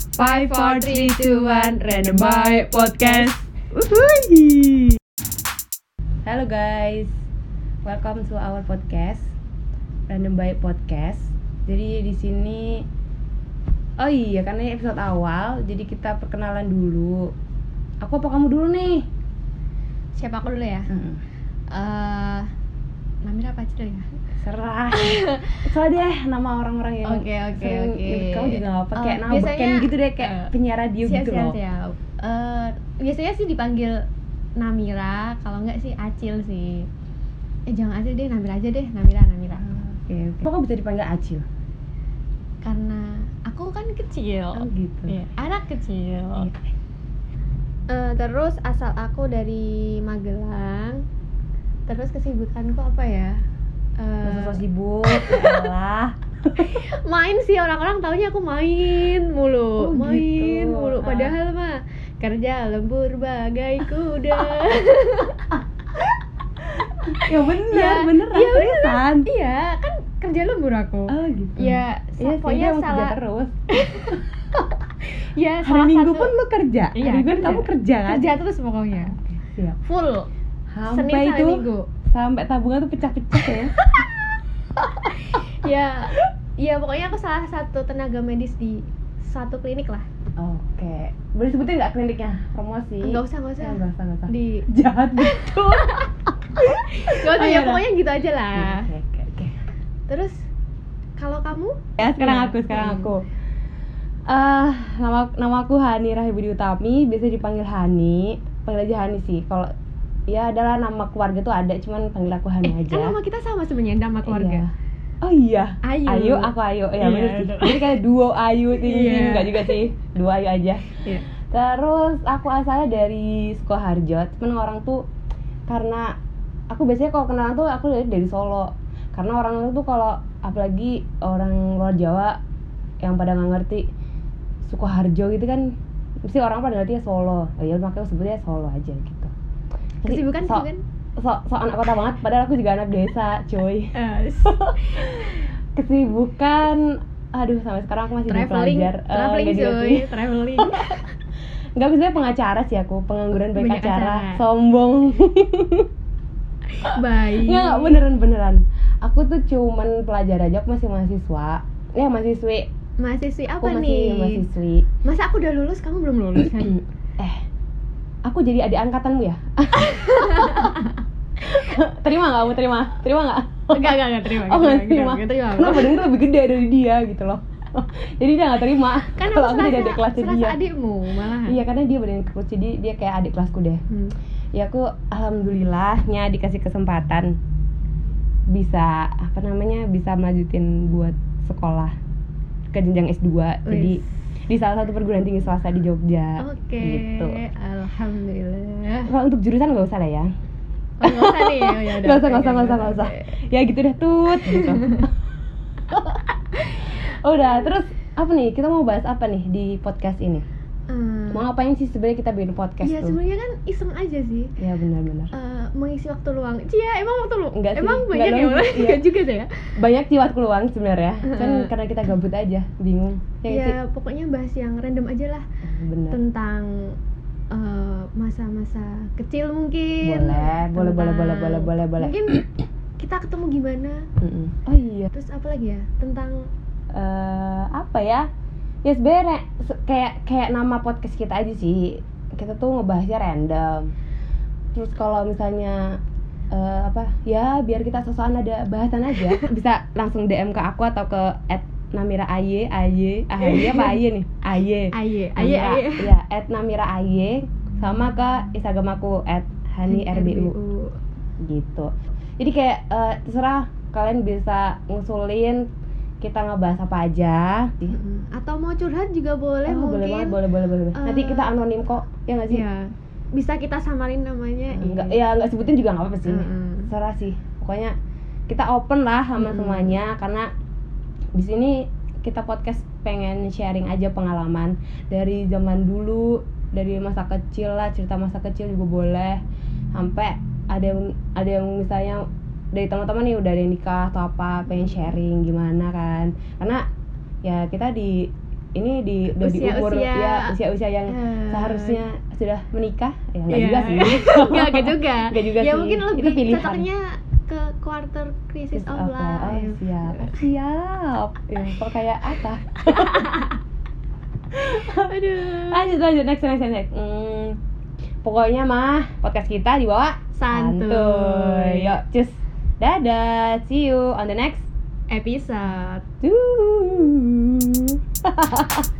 5, 4, 3, 2, 1 Random by Podcast Halo guys, welcome to our podcast Random by Podcast. Jadi di sini, oh iya karena ini episode awal, jadi kita perkenalan dulu. Aku apa kamu dulu nih? siapa aku dulu ya Eh, namanya apa aja dulu ya Serah. Soalnya deh nama orang-orang yang Oke, oke, sering oke. nyebut kamu juga gak apa Eh, kayak nama biasanya- beken gitu deh kayak eh, penyiar radio siap gitu siap loh. siap Eh, biasanya sih dipanggil Namira kalau nggak sih Acil sih eh jangan Acil deh Namira aja deh Namira Namira Oke, oke. Kok kamu bisa dipanggil Acil? karena aku kan Oh, kecil gitu. Iya, Oh. anak kecil Iya. Eh, terus asal aku dari Magelang terus kesibukanku apa ya Eh, Masa so sibuk, lah. main sih orang-orang taunya aku main Oh, mulu gitu. main Ah. mulu padahal mah kerja lembur bagai kuda Ya bener, Ya, bener iya, bener. seriusan. iya kan kerja lembur aku Oh gitu. ya Iya, pokoknya kayaknya emang kerja salah terus. ya Hari salah Minggu satu pun lu kerja. Iya, Hari Minggu kan kerja. kamu kerja kan? kerja terus pokoknya Siap. full Sampai senin sampai itu minggu sampai tabungan tuh pecah-pecah ya. ya ya pokoknya aku salah satu tenaga medis di satu klinik lah Oke. Boleh sebutin nggak kliniknya? Promosi. nggak usah nggak usah Ya, nggak usah, nggak usah. di Jahat betul. nggak Oh, iya, usah ya dah. Iya. pokoknya gitu aja lah Oke, oke, oke. terus kalau kamu Ya, sekarang Iya. aku, sekarang Hmm. aku. Eh, nama nama aku Hani Rahibudi Utami, biasa dipanggil Hani. Panggil aja Hani sih. Kalau ya adalah nama keluarga tuh ada, cuman panggil aku Hani eh kan aja. nama kita sama sebenarnya nama keluarga Iya. Oh iya. Ayu. Ayu, aku Ayu. Ya Iya, bener sih. betul. Jadi kayak duo Ayu ting Iya. enggak juga sih. Duo Ayu aja. Iya. Terus aku asalnya dari Sukoharjo, cuman orang tuh karena aku biasanya kalau kenalan tuh aku dari, dari Solo. Karena orang tuh kalau apalagi orang luar Jawa yang pada nggak ngerti Sukoharjo gitu kan mesti orang pada ngerti ya Solo. Oh, Ya makanya aku sebutnya Solo aja gitu. Jadi, kesibukan kan? so, kesibukan so, so anak kota banget padahal aku juga anak desa, cuy. Eh, Kesibukan aduh sampai sekarang aku masih jadi traveling pelajar. Eh, traveling nggak juga cuy sih. traveling Nggak misalnya pengacara sih aku, pengangguran baik Banyak acara. acara. Sombong. baik Nggak, nggak, beneran beneran. Aku tuh cuman pelajar aja, aku masih mahasiswa. Ya mahasiswi. mahasiswi apa Aku masih nih mahasiswi. masa aku udah lulus kamu belum lulus kan Eh. Aku jadi adik angkatanmu ya? terima nggak kamu terima? Terima nggak? enggak enggak enggak terima Oh nggak terima. enggak terima Karena badanku lebih gede dari dia gitu loh. Jadi dia nggak terima. kan aku kalau aku jadi adik serasa, kelasnya serasa dia. adikmu malahan Iya karena dia badan kurus jadi dia kayak adik kelasku deh. Hmm. Ya aku alhamdulillahnya dikasih kesempatan bisa apa namanya bisa melanjutin buat sekolah ke jenjang S2. Jadi Wis. di salah satu perguruan tinggi swasta di Jogja. Oke, Gitu. alhamdulillah. Kalau untuk jurusan nggak usah lah ya. Oh, nggak usah nih, oh, Nggak usah, yaudah. Oke, nggak usah, oke, nggak usah, nggak oke. usah. Ya gitu deh tut gitu. Udah, terus apa nih? Kita mau bahas apa nih di podcast ini? Eh, Mau ngapain sih sebenarnya kita bikin podcast Iya, tuh? sebenarnya kan iseng aja sih. Ya benar-benar. Eh, mengisi waktu luang. Cia, emang waktu luang? Enggak sih, Emang enggak banyak ya dong. orang? Iya. Enggak juga sih ya. Banyak sih waktu luang sebenarnya. Kan Heeh. karena kita gabut aja, bingung. Ya, nggak Ya, sih? pokoknya bahas yang random aja lah Nah. benar. tentang eh, masa-masa kecil mungkin. Boleh, boleh, boleh, boleh, Tentang- boleh, boleh, boleh. Mungkin kita ketemu gimana? Mm-mm. Oh iya. Terus apa lagi ya? Tentang eh apa ya? Ya sebenarnya se- kayak kayak nama podcast kita aja sih. Kita tuh ngebahasnya random. Terus kalau misalnya eh, apa? Ya biar kita sosokan ada bahasan aja. Bisa langsung DM ke aku atau ke at Namira Aye, Aye, Aye apa Aye nih? Aye. aye, aye, Namira- aye. Ya, at Namira Aye sama ke Instagram aku at Hani RBU gitu jadi kayak eh, terserah kalian bisa ngusulin kita ngebahas apa aja Mm-mm. Atau mau curhat juga boleh Oh, mungkin. boleh banget boleh boleh boleh boleh. nanti eh, kita anonim kok ya nggak sih Iya. Bisa kita samarin namanya. Eh, iya. nggak ya nggak sebutin juga nggak apa-apa sih Mm-mm. terserah sih pokoknya kita open lah sama Mm-mm. semuanya karena di sini kita podcast pengen sharing aja pengalaman dari zaman dulu dari masa kecil lah cerita masa kecil juga boleh sampai ada yang ada yang misalnya dari teman-teman nih udah ada yang nikah atau apa pengen sharing gimana kan karena ya kita di ini di udah di umur Usia-usia. ya usia-usia yang Eh, seharusnya sudah menikah ya enggak Iya. juga sih nggak nggak juga Nggak juga ya sih. mungkin Itu lebih pilihan. cocoknya ke quarter crisis of Apa? Oh, life siap siap ya, kok kayak apa aduh lanjut lanjut next next next, next hmm, pokoknya mah podcast kita dibawa santuy, yuk cus dadah see you on the next episode Tuh.